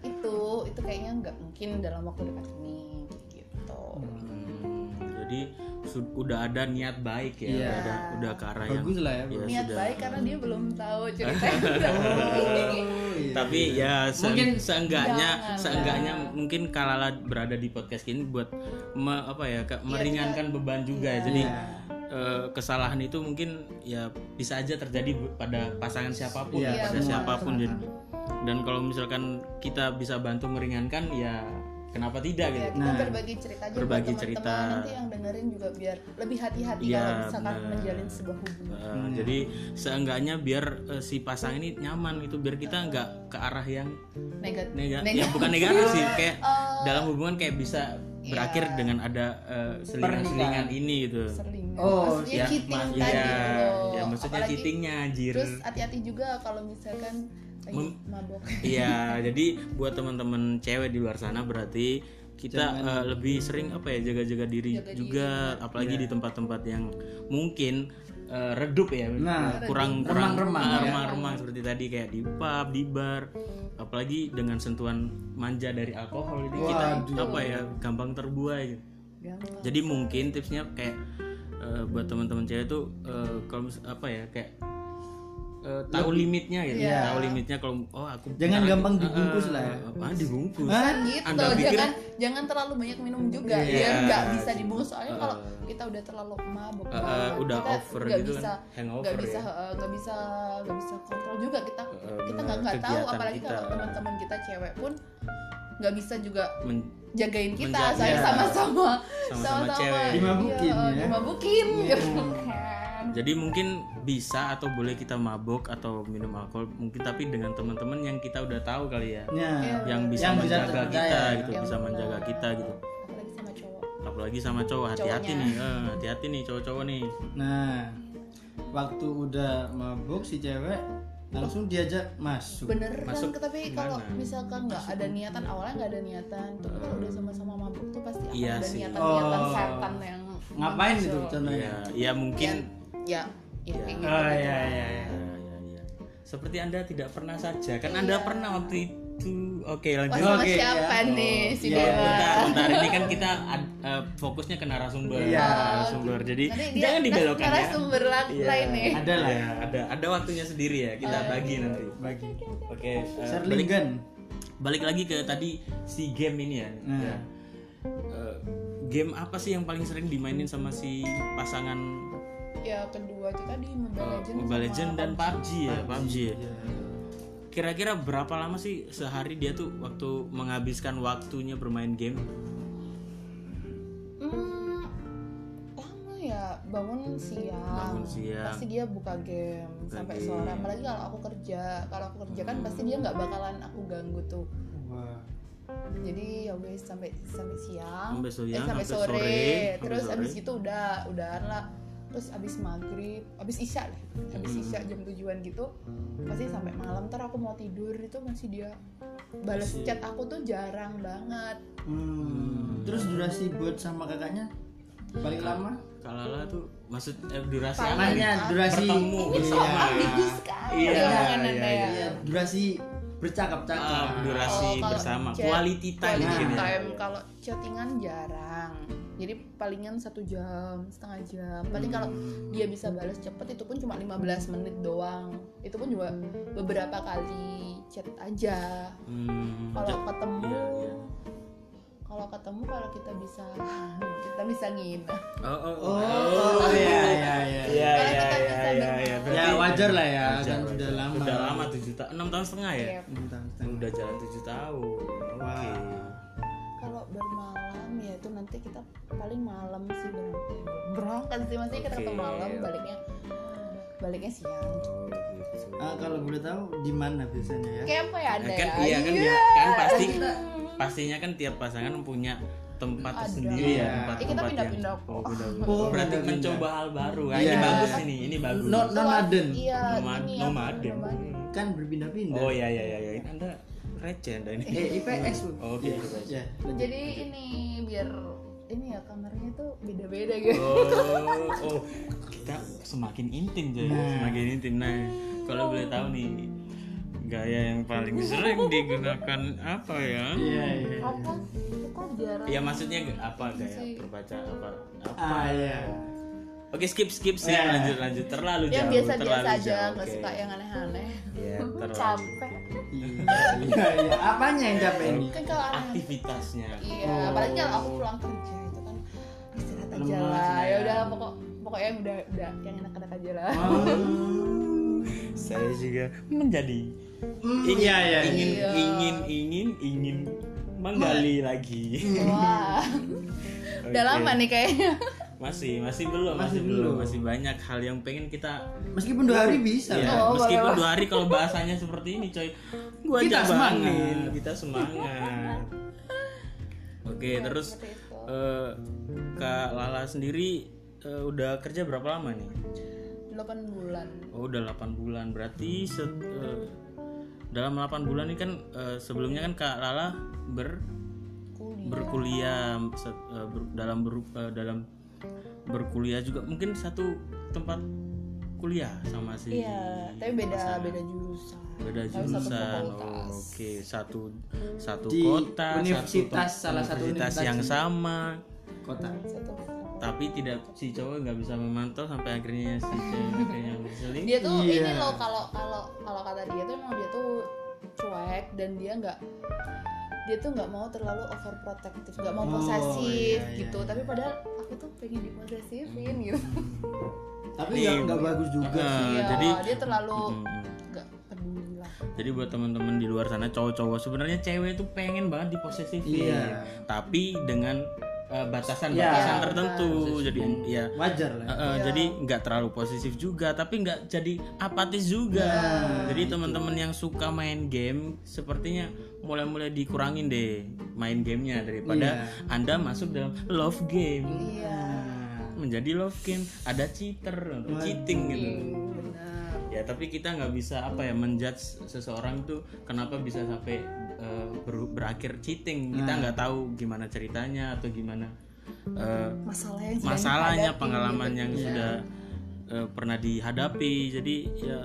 eh, itu itu kayaknya nggak mungkin dalam waktu dekat ini gitu Hmm, jadi sud- udah ada niat baik ya, Iya. udah udah ke arah yang Bagus lah ya. Iya. Bro. niat sudah. Iya, gitu. baik karena dia belum tahu ceritanya Oh, iya. tapi ya mungkin Mungkin seenggaknya jangan lah. seenggaknya mungkin Iya, Iya. Kalala berada di podcast ini buat me- apa ya ke- meringankan beban juga ya. jadi eh, kesalahan itu mungkin ya bisa aja terjadi bu- pada pasangan siapapun Iya, pada benar. siapapun Benar. jadi dan kalau misalkan kita bisa bantu meringankan ya kenapa tidak Ya, gitu kita Nah, berbagi cerita aja berbagi buat cerita. teman-teman nanti yang dengerin juga biar lebih hati-hati Iya, kalau misalkan benar. menjalin sebuah hubungan. Eh, Jadi seenggaknya biar eh, si pasangan ini nyaman gitu, biar kita nggak ke arah yang Negatif. negatif, Negatif. Iya. ya bukan negatif sih, kayak Eh, dalam hubungan kayak bisa berakhir dengan ada eh, selingan-selingan ini gitu. selingan. Oh, maksudnya Ya, cheating ma- tadi gitu iya, loh. ya maksudnya Apalagi- cheatingnya anjir. Terus hati-hati juga kalau misalkan lagi Mem- mabok. Iya, jadi buat teman-teman cewek di luar sana berarti kita eh, lebih sering apa ya jaga-jaga diri Jaga diri. juga, apalagi Iya. di tempat-tempat yang mungkin eh, redup ya, Nah, kurang redup. kurang Remang-remang ah, ya. remang-remang seperti tadi kayak di pub, di bar, apalagi dengan sentuhan manja dari alkohol, jadi kita Waduh. apa ya gampang terbuai. Gampang. Jadi mungkin tipsnya kayak eh, buat teman-teman cewek tuh eh, kalau mis- apa ya kayak eh, tahu limitnya gitu, Iya. tahu limitnya kalau oh aku Jangan aku- gampang eh, eh, dibungkus lah ya. Apaan Eh, dibungkus? Hah? gitu Anda pikir- jangan jangan terlalu banyak minum juga Iya. biar nggak bisa dibungkus soalnya Eh. kalau kita udah terlalu mabuk Eh, eh, banget, udah kita over nggak gitu bisa kan, hangover nggak bisa ya. eh, nggak bisa nggak bisa kontrol juga kita Eh, kita benar, nggak nggak tahu kegiatan apalagi kita. kalau teman-teman kita cewek pun nggak bisa juga Men- jagain kita Menjaga. soalnya sama-sama Sama-sama cewek. Dimabukin Iya, ya. dimabukin Iya. gitu kan jadi mungkin bisa atau boleh kita mabok atau minum alkohol mungkin tapi dengan teman-teman yang kita udah tahu kali ya, Ya. Iya. yang bisa Yang bisa menjaga terpercaya, kita ya. gitu, Yang bisa benar. menjaga kita gitu. apalagi sama cowok Apalagi sama cowok hati-hati Cowoknya. nih, eh, hati-hati nih cowok-cowok nih. Nah, waktu udah mabuk si cewek langsung diajak masuk. beneran Masuk tapi kalau gimana? misalkan nggak ada niatan awalnya nggak ada niatan tapi kalau udah sama-sama mabuk tuh pasti akan Iya ada sih. niatan niatan Oh. setan yang Ngapain gitu muncul. Ya, contohnya? ya mungkin ya ya, kayak gitu Oh iya iya iya. Ya, ya, ya. Seperti Anda tidak pernah saja, kan Anda Iya. pernah waktu itu. Oke, Wah, lanjut. Oh, sama Oke, siapa nih si Iya, Dewa? Oh, Bentar, bentar. Ini kan kita ad- eh, fokusnya ke narasumber, Iya. narasumber. Jadi Nanti dia jangan dibelokkan ya. narasumber la- Iya. lain nih. Iya. Ada lah. Ya, ada ada waktunya sendiri ya. Kita bagi nanti. Bagi. Oke. eh, balik, Serlinggan. balik lagi ke tadi si game ini ya. Hmm. Nah. Ya. Eh, game apa sih yang paling sering dimainin sama si pasangan Ya kedua itu tadi eh, Mobile Legends. Mobile sama- Legends dan PUBG ya, PUBG. ya? Iya. Kira-kira berapa lama sih sehari dia tuh waktu menghabiskan waktunya bermain game? Hmm, lama ya bangun siang. Bangun siang. Pasti dia buka game sampai game. sore. Apalagi kalau aku kerja, kalau aku kerja Hmm. kan pasti dia nggak bakalan aku ganggu tuh. Wah. Jadi ya wes sampai sampai siang. Sampai siang, eh, sampai, sampai sore. sore, sampai Terus sore. abis itu udah udahan lah. Terus abis maghrib, abis isya lah, abis Hmm. isya jam tujuan gitu, pasti sampai malam. Ntar aku mau tidur itu masih dia balas Masih. chat aku tuh jarang banget. Hmm. Terus durasi buat sama kakaknya paling lama? Kalala tuh maksud eh, durasi Paling- apa nih? Makanya durasi Bertemu. Ini soal Iya. ambigus kan? oh, Iya, omongan iya, Anda ya. Iya, durasi bercakap-cakap. Ah, durasi Oh, kalau bersama, chat, quality time quality mungkin ya. time. Kalau chattingan jarang. Jadi palingan satu jam, setengah jam. Paling kalau Hmm. dia bisa balas cepet itu pun cuma 15 menit doang. Itu pun juga beberapa kali chat aja. Hmm, Kalau ja- ketemu iya, iya. kalau ketemu kalau kita bisa kita bisa ngina. Oh, oh, oh. Oh, iya iya iya. Iya, Kalau iya, kita iya, bisa iya, iya. berteman. Berarti Ya wajar lah ya, wajar, kan wajar. udah lama. Udah lama 7 tahun, 6 tahun setengah ya? Iya. Tentang Udah jalan 7 tahun. Oke. Wah. Kalau bermalam ya itu nanti kita paling malam sih berangkat. Berangkat sih masih kita Oke. ketemu malam baliknya baliknya siang. Ah, kalau boleh tahu di mana biasanya ya? Kayak apa ya Ya ada kan ya? iya kan ya. Kan pasti pastinya kan tiap pasangan punya tempat Ada. tersendiri Iya. ya, tempat Eh, kita tempat yang pindah-pindah kok. Oh, pindah-pindah. Oh, berarti pindah-pindah. mencoba hal baru. Ah, Iya. Ini bagus ini, ini bagus. Not nomaden. Iya, Nomad- ini apa, nomaden. nomaden. Kan berpindah-pindah. Oh ya ya ya ya. Ini Anda receh Anda ini. Eh, IPS. Bu. Oh, oke, Iya, IPS. iya. Jadi ini biar ini ya kamarnya tuh beda-beda gitu. Oh, oh. Kita semakin intim jadi, Nah. semakin intim. Nah, kalau boleh tahu nih gaya yang paling sering digunakan apa ya? Iya, iya. Apa? Kita jarang. Ya maksudnya ge- apa gaya perbaca apa? apa? Ah, iya. Oke, skip skip sih. Iya. Lanjut lanjut terlalu jauh. yang biasa-biasa terlalu aja, jauh. nggak Oke. suka ya. Hmm, yang aneh-aneh. Iya, terlalu. Capek. Iya, iya, iya. Apanya yang capek ini? Kan kalau aneh-aneh aktivitasnya. Iya, Oh. apalagi kalau aku pulang kerja itu kan istirahat aja Lemas lah. ya. Ya udah pokok pokoknya yang udah udah yang enak-enak aja lah Oh. saya juga menjadi ingin iya, iya, ingin, iya. ingin ingin ingin menggali lagi. wah udah Oke. lama nih kayaknya Masih masih belum Masih masih, belum belum. masih banyak hal yang pengen kita Meskipun dua hari bisa. Iya, Oh, meskipun baru- dua hari kalau bahasanya seperti ini, coy. Gua Kita aja semangat. banget, kita semangat. Oke, terus Iya, seperti itu. eh, Kak Lala sendiri eh, udah kerja berapa lama nih? 8 bulan Oh, udah 8 bulan. Berarti se- eh, dalam 8 bulan ini kan eh, sebelumnya kan Kak Lala ber kuliah berkuliah se- eh, ber- dalam beru- eh, dalam berkuliah juga mungkin satu tempat kuliah sama si iya tapi beda pasangan. beda jurusan Hmm, beda Tapi satu jurusan fakultas. Oh, oke satu satu Di kota universitas, satu, salah satu universitas universitas yang di- sama Kota. satu tapi tidak si cowok nggak bisa memantau sampai akhirnya si cewek yang berseling dia tuh Iya. ini loh kalau kalau kalau kata dia tuh emang dia tuh cuek dan dia nggak dia tuh nggak mau terlalu overprotective nggak mau Oh, posesif iya, iya, gitu iya. tapi padahal aku tuh pengen diposesifin gitu Tapi Nih, ya nggak bagus juga eh, sih. Iya, jadi- Hmm. dia terlalu Mm-mm. nggak peduli lah jadi buat teman-teman di luar sana cowok-cowok sebenarnya cewek tuh pengen banget diposesifin Iya. tapi dengan eh, batasan-batasan Iya. tertentu jadi ya Wajar lah. Eh, eh, Jadi nggak terlalu positif juga, tapi nggak jadi apatis juga. jadi teman-teman yang suka main game, sepertinya mulai-mulai dikurangin deh main gamenya daripada anda masuk dalam love game iya menjadi love game ada cheater, cheating gitu. benar Ya tapi kita nggak bisa apa ya menjudge seseorang tuh kenapa bisa sampai eh, ber- berakhir cheating. Kita nggak tahu gimana ceritanya atau gimana. eh, masalahnya yang sedang masalahnya dihadapi, pengalaman gitu. yang Iya. sudah eh, pernah dihadapi jadi ya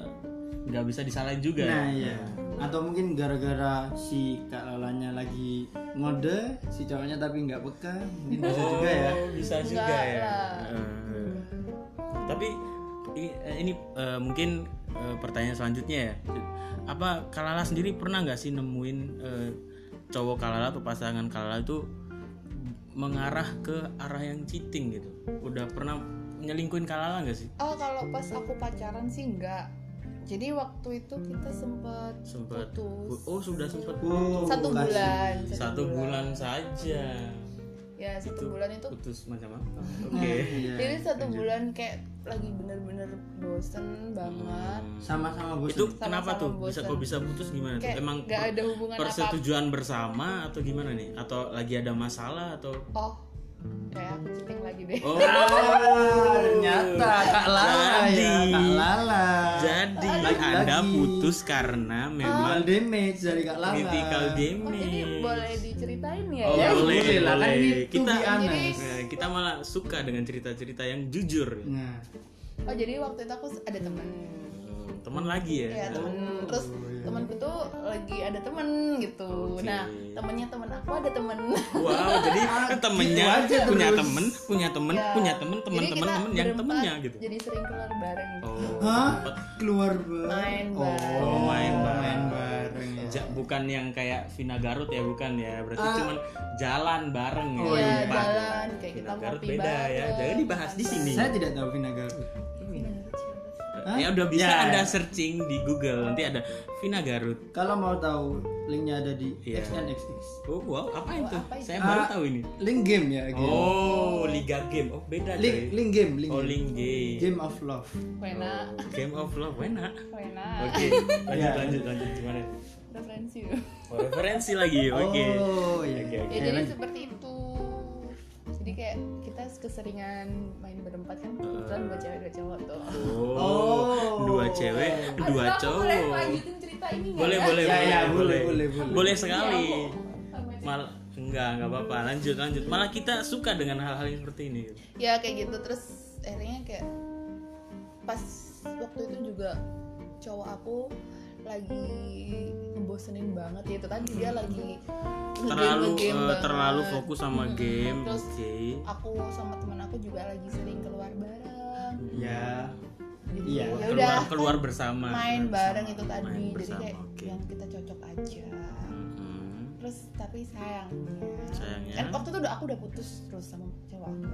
nggak bisa disalahin juga Nah iya. Atau mungkin gara-gara si kak Lalanya lagi ngode, si cowoknya tapi nggak peka, mungkin bisa juga ya. Oh, bisa juga Enggak ya lah. Eh, tapi ini, eh, ini, eh, mungkin eh, pertanyaan selanjutnya ya apa Kalala sendiri pernah nggak sih nemuin eh, cowok Kalala atau pasangan Kalala itu mengarah ke arah yang cheating gitu udah pernah nyelingkuin Kalala nggak sih oh kalau pas aku pacaran sih nggak jadi waktu itu kita sempet sempat putus oh sudah sempat Oh, satu kasih. bulan satu bulan saja ya satu bulan itu putus macam apa Oh. oke Nah. Iya. jadi satu bulan kayak lagi bener-bener bosen banget Hmm. Sama-sama bos. itu Sama-sama kenapa tuh bisa bosan. kok bisa putus gimana tuh kayak emang nggak per- ada hubungan apa persetujuan bersama atau gimana nih atau lagi ada masalah atau oh kayak aku cheating lagi deh oh ternyata Nah, iya, kak Lala ya, Jadi. kak Lala. jadi Lagi-lagi. anda putus karena memang Mal damage dari kak Lala. critical oh Ah. jadi damage boleh diceritain ya Oh, ya boleh, Iya. boleh lah, kan boleh. ini to Kita- be honest. Nah, kita malah suka dengan cerita-cerita yang jujur Nah, oh jadi waktu itu aku ada temen Hmm, teman lagi ya, ya temen terus temenku tuh lagi ada temen iya. gitu Oh, Oke. nah temennya temen aku ada temen Wow, jadi temennya gitu aja terus. punya temen, punya temen, Ya. punya temen, temen, Jadi temen, kita temen yang berempat temennya gitu. jadi sering keluar bareng gitu. Oh, Hah? dapat. keluar bareng. main bareng Oh, main main bareng. bareng. ya. Ja- bukan yang kayak Vina Garut ya, bukan ya. Berarti cuman jalan bareng ya. Ah. Iya, berempat. jalan kayak Vina kita Garut ngopi beda ya. bareng. Jangan dibahas di sini. Saya tidak tahu Vina Garut. Hah? Ya udah bisa Ya. Anda searching di Google. Nanti ada Vina Garut. Kalau mau tahu linknya ada di Iya. XNXX. Oh, wow, apa itu? apa itu? Saya baru Ah. tahu ini. Link game ya, game. Oh, Liga Game. Oh, beda coy. Link, link game, link. Oh, game. Link Game. Hmm. Game of love. Wena, Game of Love, enak. Wena, Oke, lanjut Ya. lanjut lanjut gimana? referensi. Oh, referensi lagi, oke. Oh, iya. Oke, oke. Ya jadi seperti itu. Jadi kayak kita keseringan main berempat kan kebetulan dua cewek dua cowok tuh. Oh, dua cewek, dua Aduh, aku cowok. Boleh lanjutin cerita ini nggak Boleh, ya? boleh, Ya, boleh, ya, boleh, boleh, boleh. boleh. sekali. Sama cewek. Mal enggak, enggak apa-apa. Lanjut, lanjut. Malah kita suka dengan hal-hal yang seperti ini. Ya kayak gitu terus akhirnya kayak pas waktu itu juga cowok aku lagi ngebosenin banget ya itu tadi dia lagi ngegame- Hmm. Terlalu ngegame eh, banget. terlalu fokus sama game. Hmm, Terus- Oke. aku sama teman aku juga lagi sering keluar bareng Ya. jadi Iya. ya udah Keluar keluar bersama. main Keluar bareng bersama, itu tadi main jadi bersama, kayak ya. oke. Hmm. yang kita cocok aja Mm-mm. terus tapi sayangnya Sayangnya? kan waktu itu udah aku udah putus terus sama cowok aku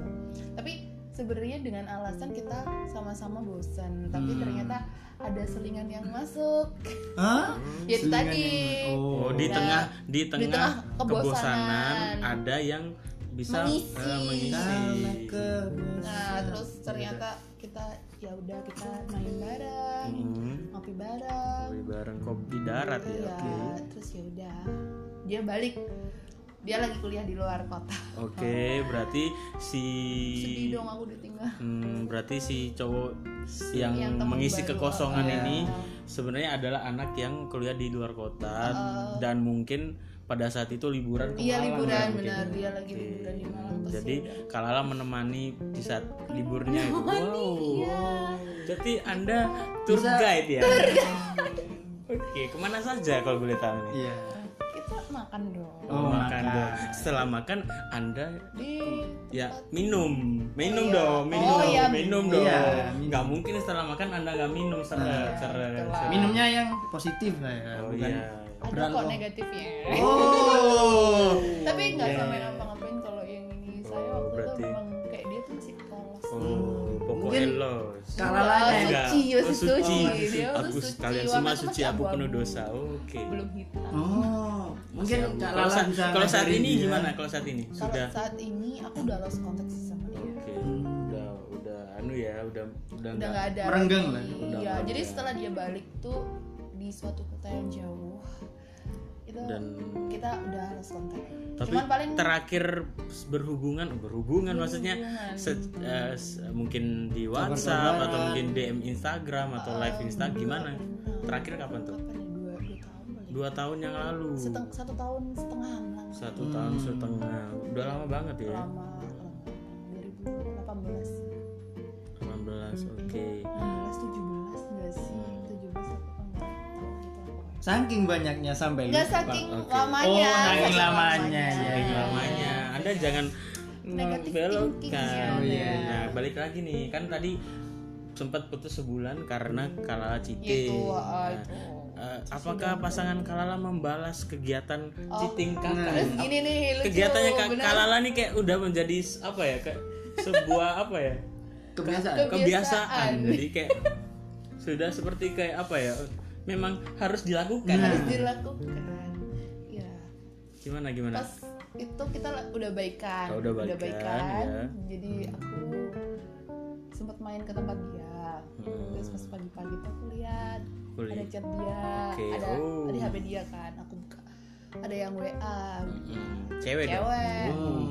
tapi sebenarnya dengan alasan kita sama-sama bosan tapi Hmm. ternyata ada selingan yang masuk Hah? Ya, itu Selingan tadi. yang- Oh, di Nah, tengah di tengah, tengah kebosanan kebosanan. ada yang bisa eh, Mengisi. Kala mengisi. kebesaran. nah Iya, terus ternyata kita ya udah kita main bareng Hmm. ngopi bareng Kopi bareng kopi darat ya. Iya, Oke. terus ya udah dia balik dia lagi kuliah di luar kota Oke, berarti si sedih dong aku ditinggal Hmm, berarti si cowok yang, yang teman mengisi baru, kekosongan uh, ini uh. sebenarnya adalah anak yang kuliah di luar kota dan mungkin pada saat itu liburan ke Iya, Malang Oh. liburan, mungkin. Hmm, benar. Dia lagi liburan di Malang, terus ya Jadi Kalala menemani di saat liburnya itu. Wow. iya. Jadi Anda tour guide ya. Oke, kemana saja kalau boleh tahu nih? Iya. kita makan dong Oh, makan makan. dong. Setelah makan Anda di ya minum minum iya. dong minum Oh, dong iya, minum minum. dong Iya, nggak mungkin setelah makan anda nggak minum seret seret seret. Minumnya yang positif lah ya, oh bukan. iya ada Beralkohol. kok negatifnya Oh. tapi nggak Iya. sampai ngapa-ngapain kalau yang ini saya Oh, waktu berarti- itu memang kayak dia tuh masih polos oh pokoknya Mungkin los Kalalanya. Enggak. suci ya Oh, suci, dia tuh aku suci kalian warna semua tuh suci masih aku penuh abu-abu. dosa oke belum hitam Oh, mungkin Kak kalau Lala saat, bisa kalau saat ngajarin ini dia. gimana kalau saat ini kalau sudah saat ini aku udah lost kontak sih sama dia oke Hmm. udah udah anu ya udah udah udah nggak- nggak ada Merenggang lagi. lah, udah iya nggak jadi ada. setelah dia balik tuh di suatu kota yang jauh itu dan kita udah harus kontak tapi cuman paling terakhir berhubungan berhubungan maksudnya Berhubungan. se- eh, se- mungkin di WhatsApp atau mungkin DM Instagram atau live Instagram gimana terakhir kapan tuh kapan ya dua dua tahun balik dua tahun yang lalu Seteng- satu tahun setengahan lah satu tahun setengah udah lama banget ya lama lama, lama 18 2018 oke 16 17 enggak sih 17 apa enggak tahun itu apa Saking banyaknya sampai Enggak lupa. saking Oke. lamanya. Iya. Oh, saking lamanya, Saking lamanya anda jangan Negative thinking ya, belokkan Oh, iya. nah balik lagi nih kan tadi sempat putus sebulan karena kalah cite Gitu, Nah, ah, itu. Eh, apakah pasangan Kalala membalas kegiatan cheating kakak? Terus gini nih Oh. Nah, lucu. Kegiatannya Kak bener. Kalala nih kayak udah menjadi s- apa ya? Kayak sebuah apa ya? Kebiasaan. Ke- Kebiasaan. Kebiasaan. Jadi kayak sudah seperti kayak apa ya? Memang harus dilakukan. Harus dilakukan. Ya. Gimana gimana? Pas itu kita la- udah baikan. Oh, udah baikan, ya. Jadi aku sempat main ke tempat dia. Hmm. Terus pas pagi-pagi tuh aku lihat Aku ada lihat. chat dia, Oke, ada oh. ada HP dia kan. Aku buka. Ada yang WA. Hmm, cewek, dong. Cewek. Oh.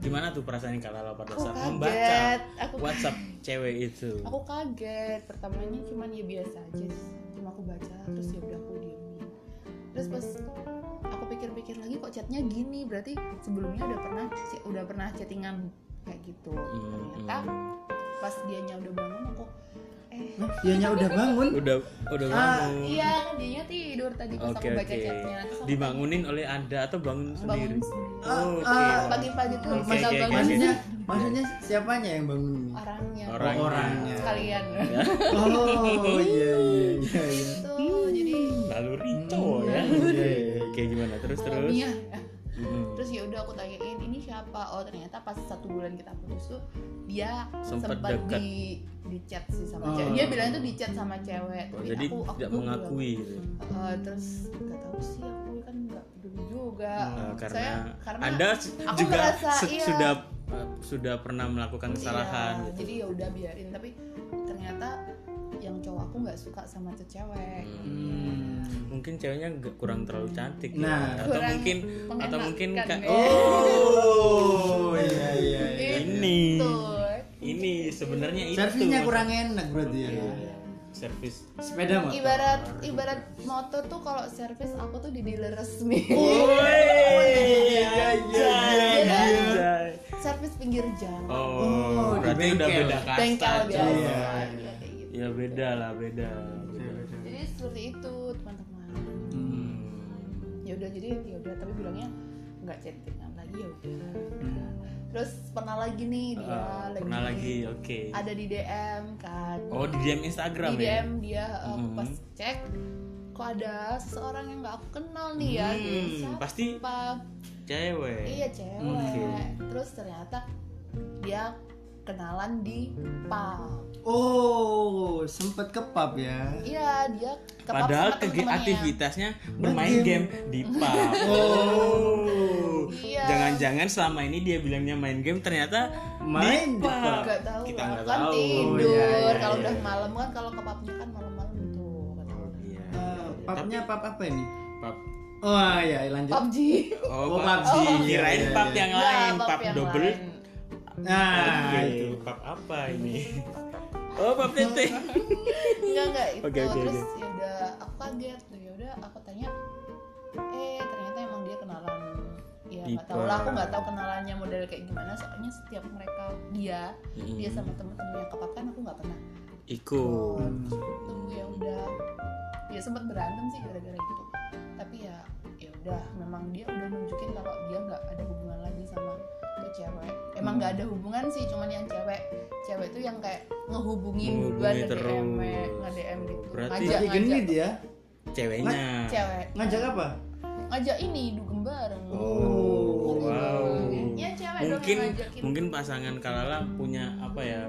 Gimana tuh perasaannya Kalala pada Aku saat membaca kaget. Aku WhatsApp cewek itu? aku kaget pertamanya cuman ya biasa aja sih. cuma aku baca terus ya udah aku diemin terus pas aku pikir-pikir lagi kok chatnya gini berarti sebelumnya udah pernah c- udah pernah chattingan kayak gitu Hmm, ternyata pas dianya udah bangun aku eh Nah, Dianya udah bangun. Udah udah bangun. iya kan dianya tidur tadi pas Oke aku baca oke. chatnya Terus aku Dibangunin oleh Anda atau bangun sendiri? Oh, bangun sendiri Ah, Oke. pagi-pagi tuh Oke, bakal oke, oke, bangun Maksudnya, maksudnya siapanya yang bangun ini? orangnya Orang. Oh, orangnya. Ya, sekalian Oh, iya iya iya. iya. tuh jadi Lalu Rico Hmm, ya. Iya, iya, iya. Oke gimana terus terus? Hmm. alamiah ya. Mm-mm. terus ya udah aku tanyain ini siapa oh ternyata pas satu bulan kita putus tuh dia Sempet sempat dekat. di di chat sih sama Oh. cewek dia bilang tuh di chat sama cewek Oh, tapi jadi aku aku tidak tuh mengakui gitu. bilang, "Eh, terus nggak tahu sih aku kan nggak peduli juga Eh, karena, Saya- karena Anda aku juga merasa, se- iya. sudah eh, sudah pernah melakukan kesalahan. Iya, gitu. jadi ya udah biarin tapi ternyata yang cowok aku nggak suka sama tuh cewek Hmm. Mungkin ceweknya nggak- kurang terlalu cantik. ya. Nah. atau Kurang mungkin atau mengenakan, mungkin Kak- ya. Oh, iya iya. iya. ini Tuh. ini sebenarnya itu. Servisnya kurang enak berarti ya. Iya. Servis. Sepeda motor. ibarat ibarat motor tuh kalau servis aku tuh di dealer resmi Oh. Oh, iya iya iya. Anjay. Iya. servis pinggir jalan Oh, di berarti udah bengkel. beda kasta. bengkel biasa coy. Iya. Iya, kayak gitu. Ya beda lah, beda. beda. jadi seperti itu teman-teman Hmm. ya udah jadi ya udah tapi bilangnya nggak chattingan lagi ya udah terus pernah lagi nih dia Hmm. Ah, Iya, lagi, pernah lagi, oke. ada di DM kan Oh di DM Instagram di ya? DM dia uh, Mhm. pas cek kok ada seseorang yang nggak aku kenal nih ya Hmm, Siapa? pasti cewek. Iya cewek. Oke. Terus ternyata dia kenalan di pub Oh, sempet ke pub ya. iya dia ke pub Padahal sama temen-temennya. aktivitasnya bermain game di pub. Oh. Iya. Jangan-jangan selama ini dia bilangnya main game ternyata di Main di pub. pub. Gak tahu Kita kan, nggak kan tahu. tidur Iya, iya, kalau iya, udah iya. malam kan kalau ke pubnya kan malam-malam gitu kata orang. Iya. Eh, pubnya pub apa ini? Pub. Oh iya, lanjut. PUBG Oh, Oh, pub. PUBG. Kirain Iya, iya, pub iya. yang Nggak, lain, pub pub yang double. lain. Nah, Oke, itu. pub apa ini? Oh, pub tete. Enggak enggak itu Oke, oke, terus ya udah aku kaget tuh ya udah aku tanya eh ternyata emang dia kenalan ya nggak tahu lah aku nggak tahu kenalannya model kayak gimana soalnya setiap mereka dia dia Iya, Hmm. sama temen-temen yang kepap kan aku nggak pernah Ikut. Hmm. tunggu ya udah ya sempat berantem sih gara-gara gitu tapi ya ya udah memang dia udah nunjukin kalau dia nggak ada hubungan lagi sama tuh cewek emang nggak Hmm. ada hubungan sih cuman yang cewek cewek tuh yang kayak ngehubungin duluan Menghubungi dan DM terus. nggak DM gitu Berarti- Lagi genit ya? Ceweknya. cewek Ngajak apa? ngajak ini dugem bareng Oh, wow. ya Iya, cewek dong mungkin yang ngajakin mungkin pasangan Kalala punya apa ya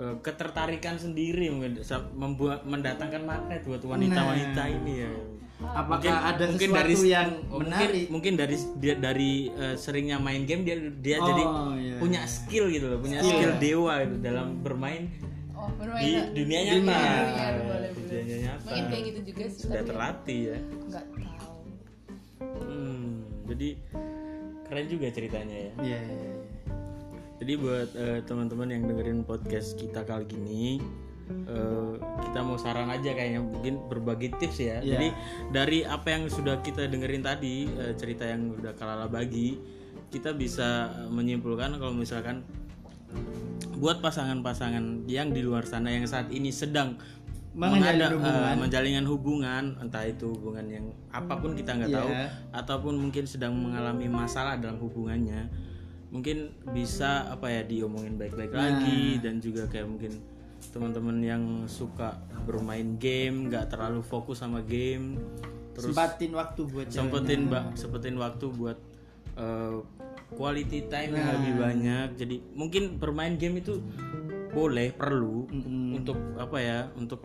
eh, ketertarikan sendiri mungkin sa- membuat mendatangkan magnet buat wanita-wanita ini ya Nah. Apakah ada sesuatu yang mungkin- menarik? mungkin, dari dia dari eh, seringnya main game dia dia Oh, jadi iya. punya skill gitu loh punya skill Skill. dewa gitu dalam bermain oh di bermain dunia nyata Dunia, iya, boleh, Di dunia nyata mungkin kayak gitu juga sih sudah tapi terlatih ya nggak tahu Hmm, jadi keren juga ceritanya ya Iya, iya, iya. Jadi buat eh, teman-teman yang dengerin podcast kita kali ini, eh, kita mau saran aja kayaknya mungkin berbagi tips ya. Iya. Jadi dari apa yang sudah kita dengerin tadi eh, cerita yang udah Kalala bagi, kita bisa eh, menyimpulkan kalau misalkan buat pasangan-pasangan yang di luar sana yang saat ini sedang Menjalin mengada- hubungan. eh, menjalin hubungan, entah itu hubungan yang apapun kita nggak Iya. tahu, ataupun mungkin sedang mengalami masalah dalam hubungannya mungkin bisa apa ya diomongin baik-baik lagi dan juga kayak mungkin teman-teman yang suka bermain game nggak terlalu fokus sama game terus Sempatin waktu buat cewek. sempetin mbak sempetin waktu buat eh, quality time yang lebih banyak jadi mungkin bermain game itu boleh perlu untuk apa ya untuk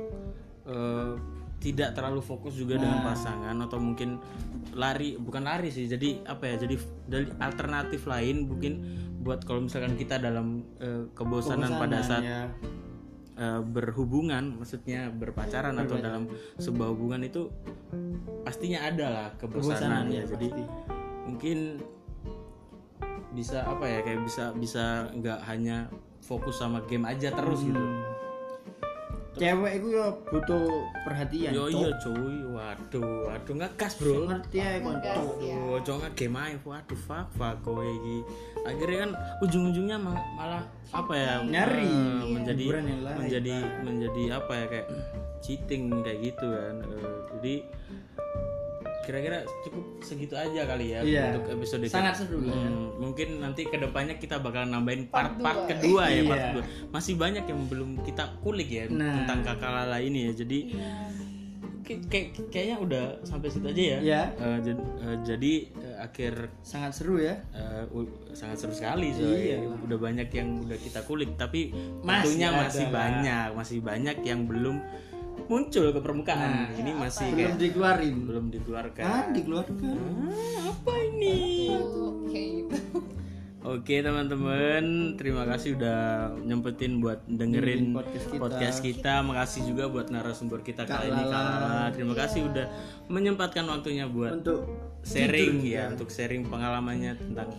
eh, tidak terlalu fokus juga dengan pasangan atau mungkin lari bukan lari sih jadi apa ya jadi dari alternatif lain mungkin buat kalau misalkan kita dalam eh, kebosanan pada saat Ya. eh, berhubungan, maksudnya berpacaran atau dalam sebuah hubungan itu pastinya ada lah kebosanan iya, ya. Jadi mungkin bisa apa ya kayak bisa bisa nggak hanya fokus sama game aja terus gitu. Hmm. Cewek itu ya butuh perhatian. Yo Cok. iya cuy, waduh, waduh ngegas bro. Ngerti ya kon. Ngegas Cok. ya. Waduh, ojo kan game aja, waduh fuck fuck kowe iki. Akhirnya kan ujung-ujungnya ma- malah apa ya Nyari. Iya. eh, menjadi Hiburan yang lain. menjadi menjadi apa ya kayak cheating kayak gitu kan. Eh, jadi kira-kira cukup segitu aja kali ya Iya. untuk episode kali- Sangat seru lah ya. Hmm, mungkin nanti kedepannya kita bakal nambahin part-part dua. kedua ya part Iya. kedua. masih banyak yang belum kita kulik ya Nah. Iya. tentang kakak lala ini ya jadi Iya, kayak- kayak- kayaknya udah sampai situ aja ya Iya. Eh, jad- eh, jadi eh, akhir Sangat seru ya. eh, u- sangat seru sekali soalnya Iya. udah banyak yang udah kita kulik tapi Masih tentunya ada masih lah. banyak masih banyak yang belum muncul ke Nah, permukaan ini masih Belum kayak dikeluarin. Iya. belum dikeluarkan Ah, Kan dikeluarkan. apa ini oke gitu Oke teman-teman, terima kasih udah nyempetin buat dengerin Dengerin podcast kita. podcast kita. Makasih juga buat narasumber kita Kak kali ini Kak Lala. Lala. Terima kasih udah menyempatkan waktunya buat Untuk sharing ya, untuk sharing pengalamannya tentang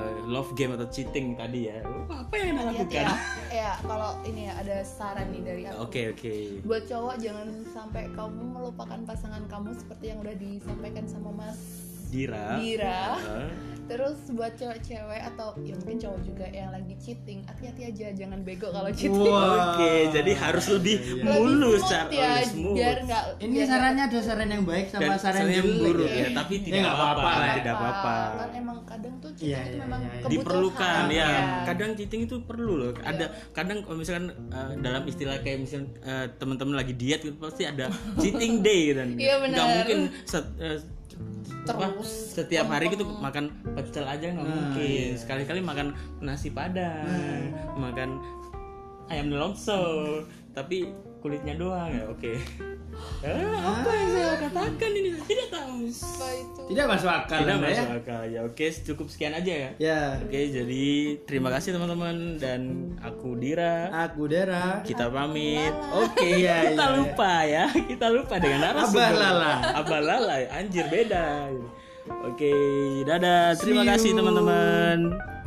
eh, love game atau cheating tadi ya. Apa yang Anda lakukan? ya ya kalau ini ya ada saran nih dari aku Oke oke. buat cowok jangan sampai kamu melupakan pasangan kamu seperti yang udah disampaikan sama Mas Dira. Dira. Eh, Terus buat cewek-cewek atau ya mungkin cowok juga yang lagi cheating, hati-hati aja jangan bego kalau cheating. Wah. Eh, Oke, jadi harus lebih Lebih mulus smooth cara ya, lebih smooth. biar nggak Ini biar sarannya ada saran yang baik dan sama saran saya yang yang buruk buruk. ya, tapi Ya, tidak nggak apa-apa, apa-apa lah. tidak apa-apa. Kan emang kadang tuh cheating Iya, itu iya, memang iya, iya. kebutuhan. diperlukan ya. Iya. kadang cheating itu perlu loh ada kadang kalau misalkan eh, dalam istilah kayak misalkan eh, teman-teman lagi diet gitu pasti ada cheating day gitu kan Iya, benar. nggak mungkin set- eh, Wah, terus setiap hari gitu makan pecel aja nggak Nah, mungkin iya. sekali-kali makan nasi padang Nah. makan ayam nelongso tapi kulitnya doang ya oke Eh, apa yang saya katakan ini Saya tidak tahu apa itu Tidak masuk akal tidak Anda ya. masuk akal ya oke cukup sekian aja ya Ya, oke jadi terima kasih teman-teman dan aku Dira aku Dera. kita pamit Oke, ya. kita lupa ya kita lupa dengan narasumber Abah Lala. abah lala anjir beda oke dadah terima See kasih you. teman-teman